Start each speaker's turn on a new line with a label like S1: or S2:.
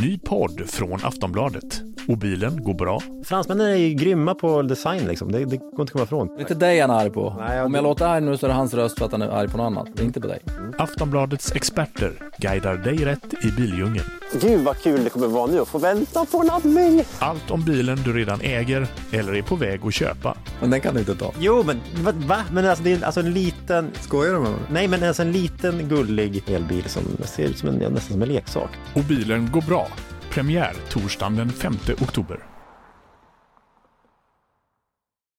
S1: Ny podd från Aftonbladet. Och bilen går bra.
S2: Fransmännen är ju grymma på design liksom. Det, det går inte att komma ifrån.
S3: Det är inte dig han är arg på.
S2: Nej, jag-
S3: Om jag låter arg nu så är det hans röst för att han är arg på något annat. Det är inte på dig.
S1: Aftonbladets experter guidar dig rätt i bildjungeln.
S4: Gud vad kul det kommer vara nu att få vänta på laddning.
S1: Allt om bilen du redan äger eller är på väg att köpa.
S3: Men den kan du inte ta.
S2: Jo, men va? va? Men alltså, det är alltså en liten...
S3: Skojar du med mig?
S2: Nej, men alltså en liten gullig elbil som ser ut som en, nästan som en leksak.
S1: Och bilen går bra. Premiär torsdagen den 5 oktober.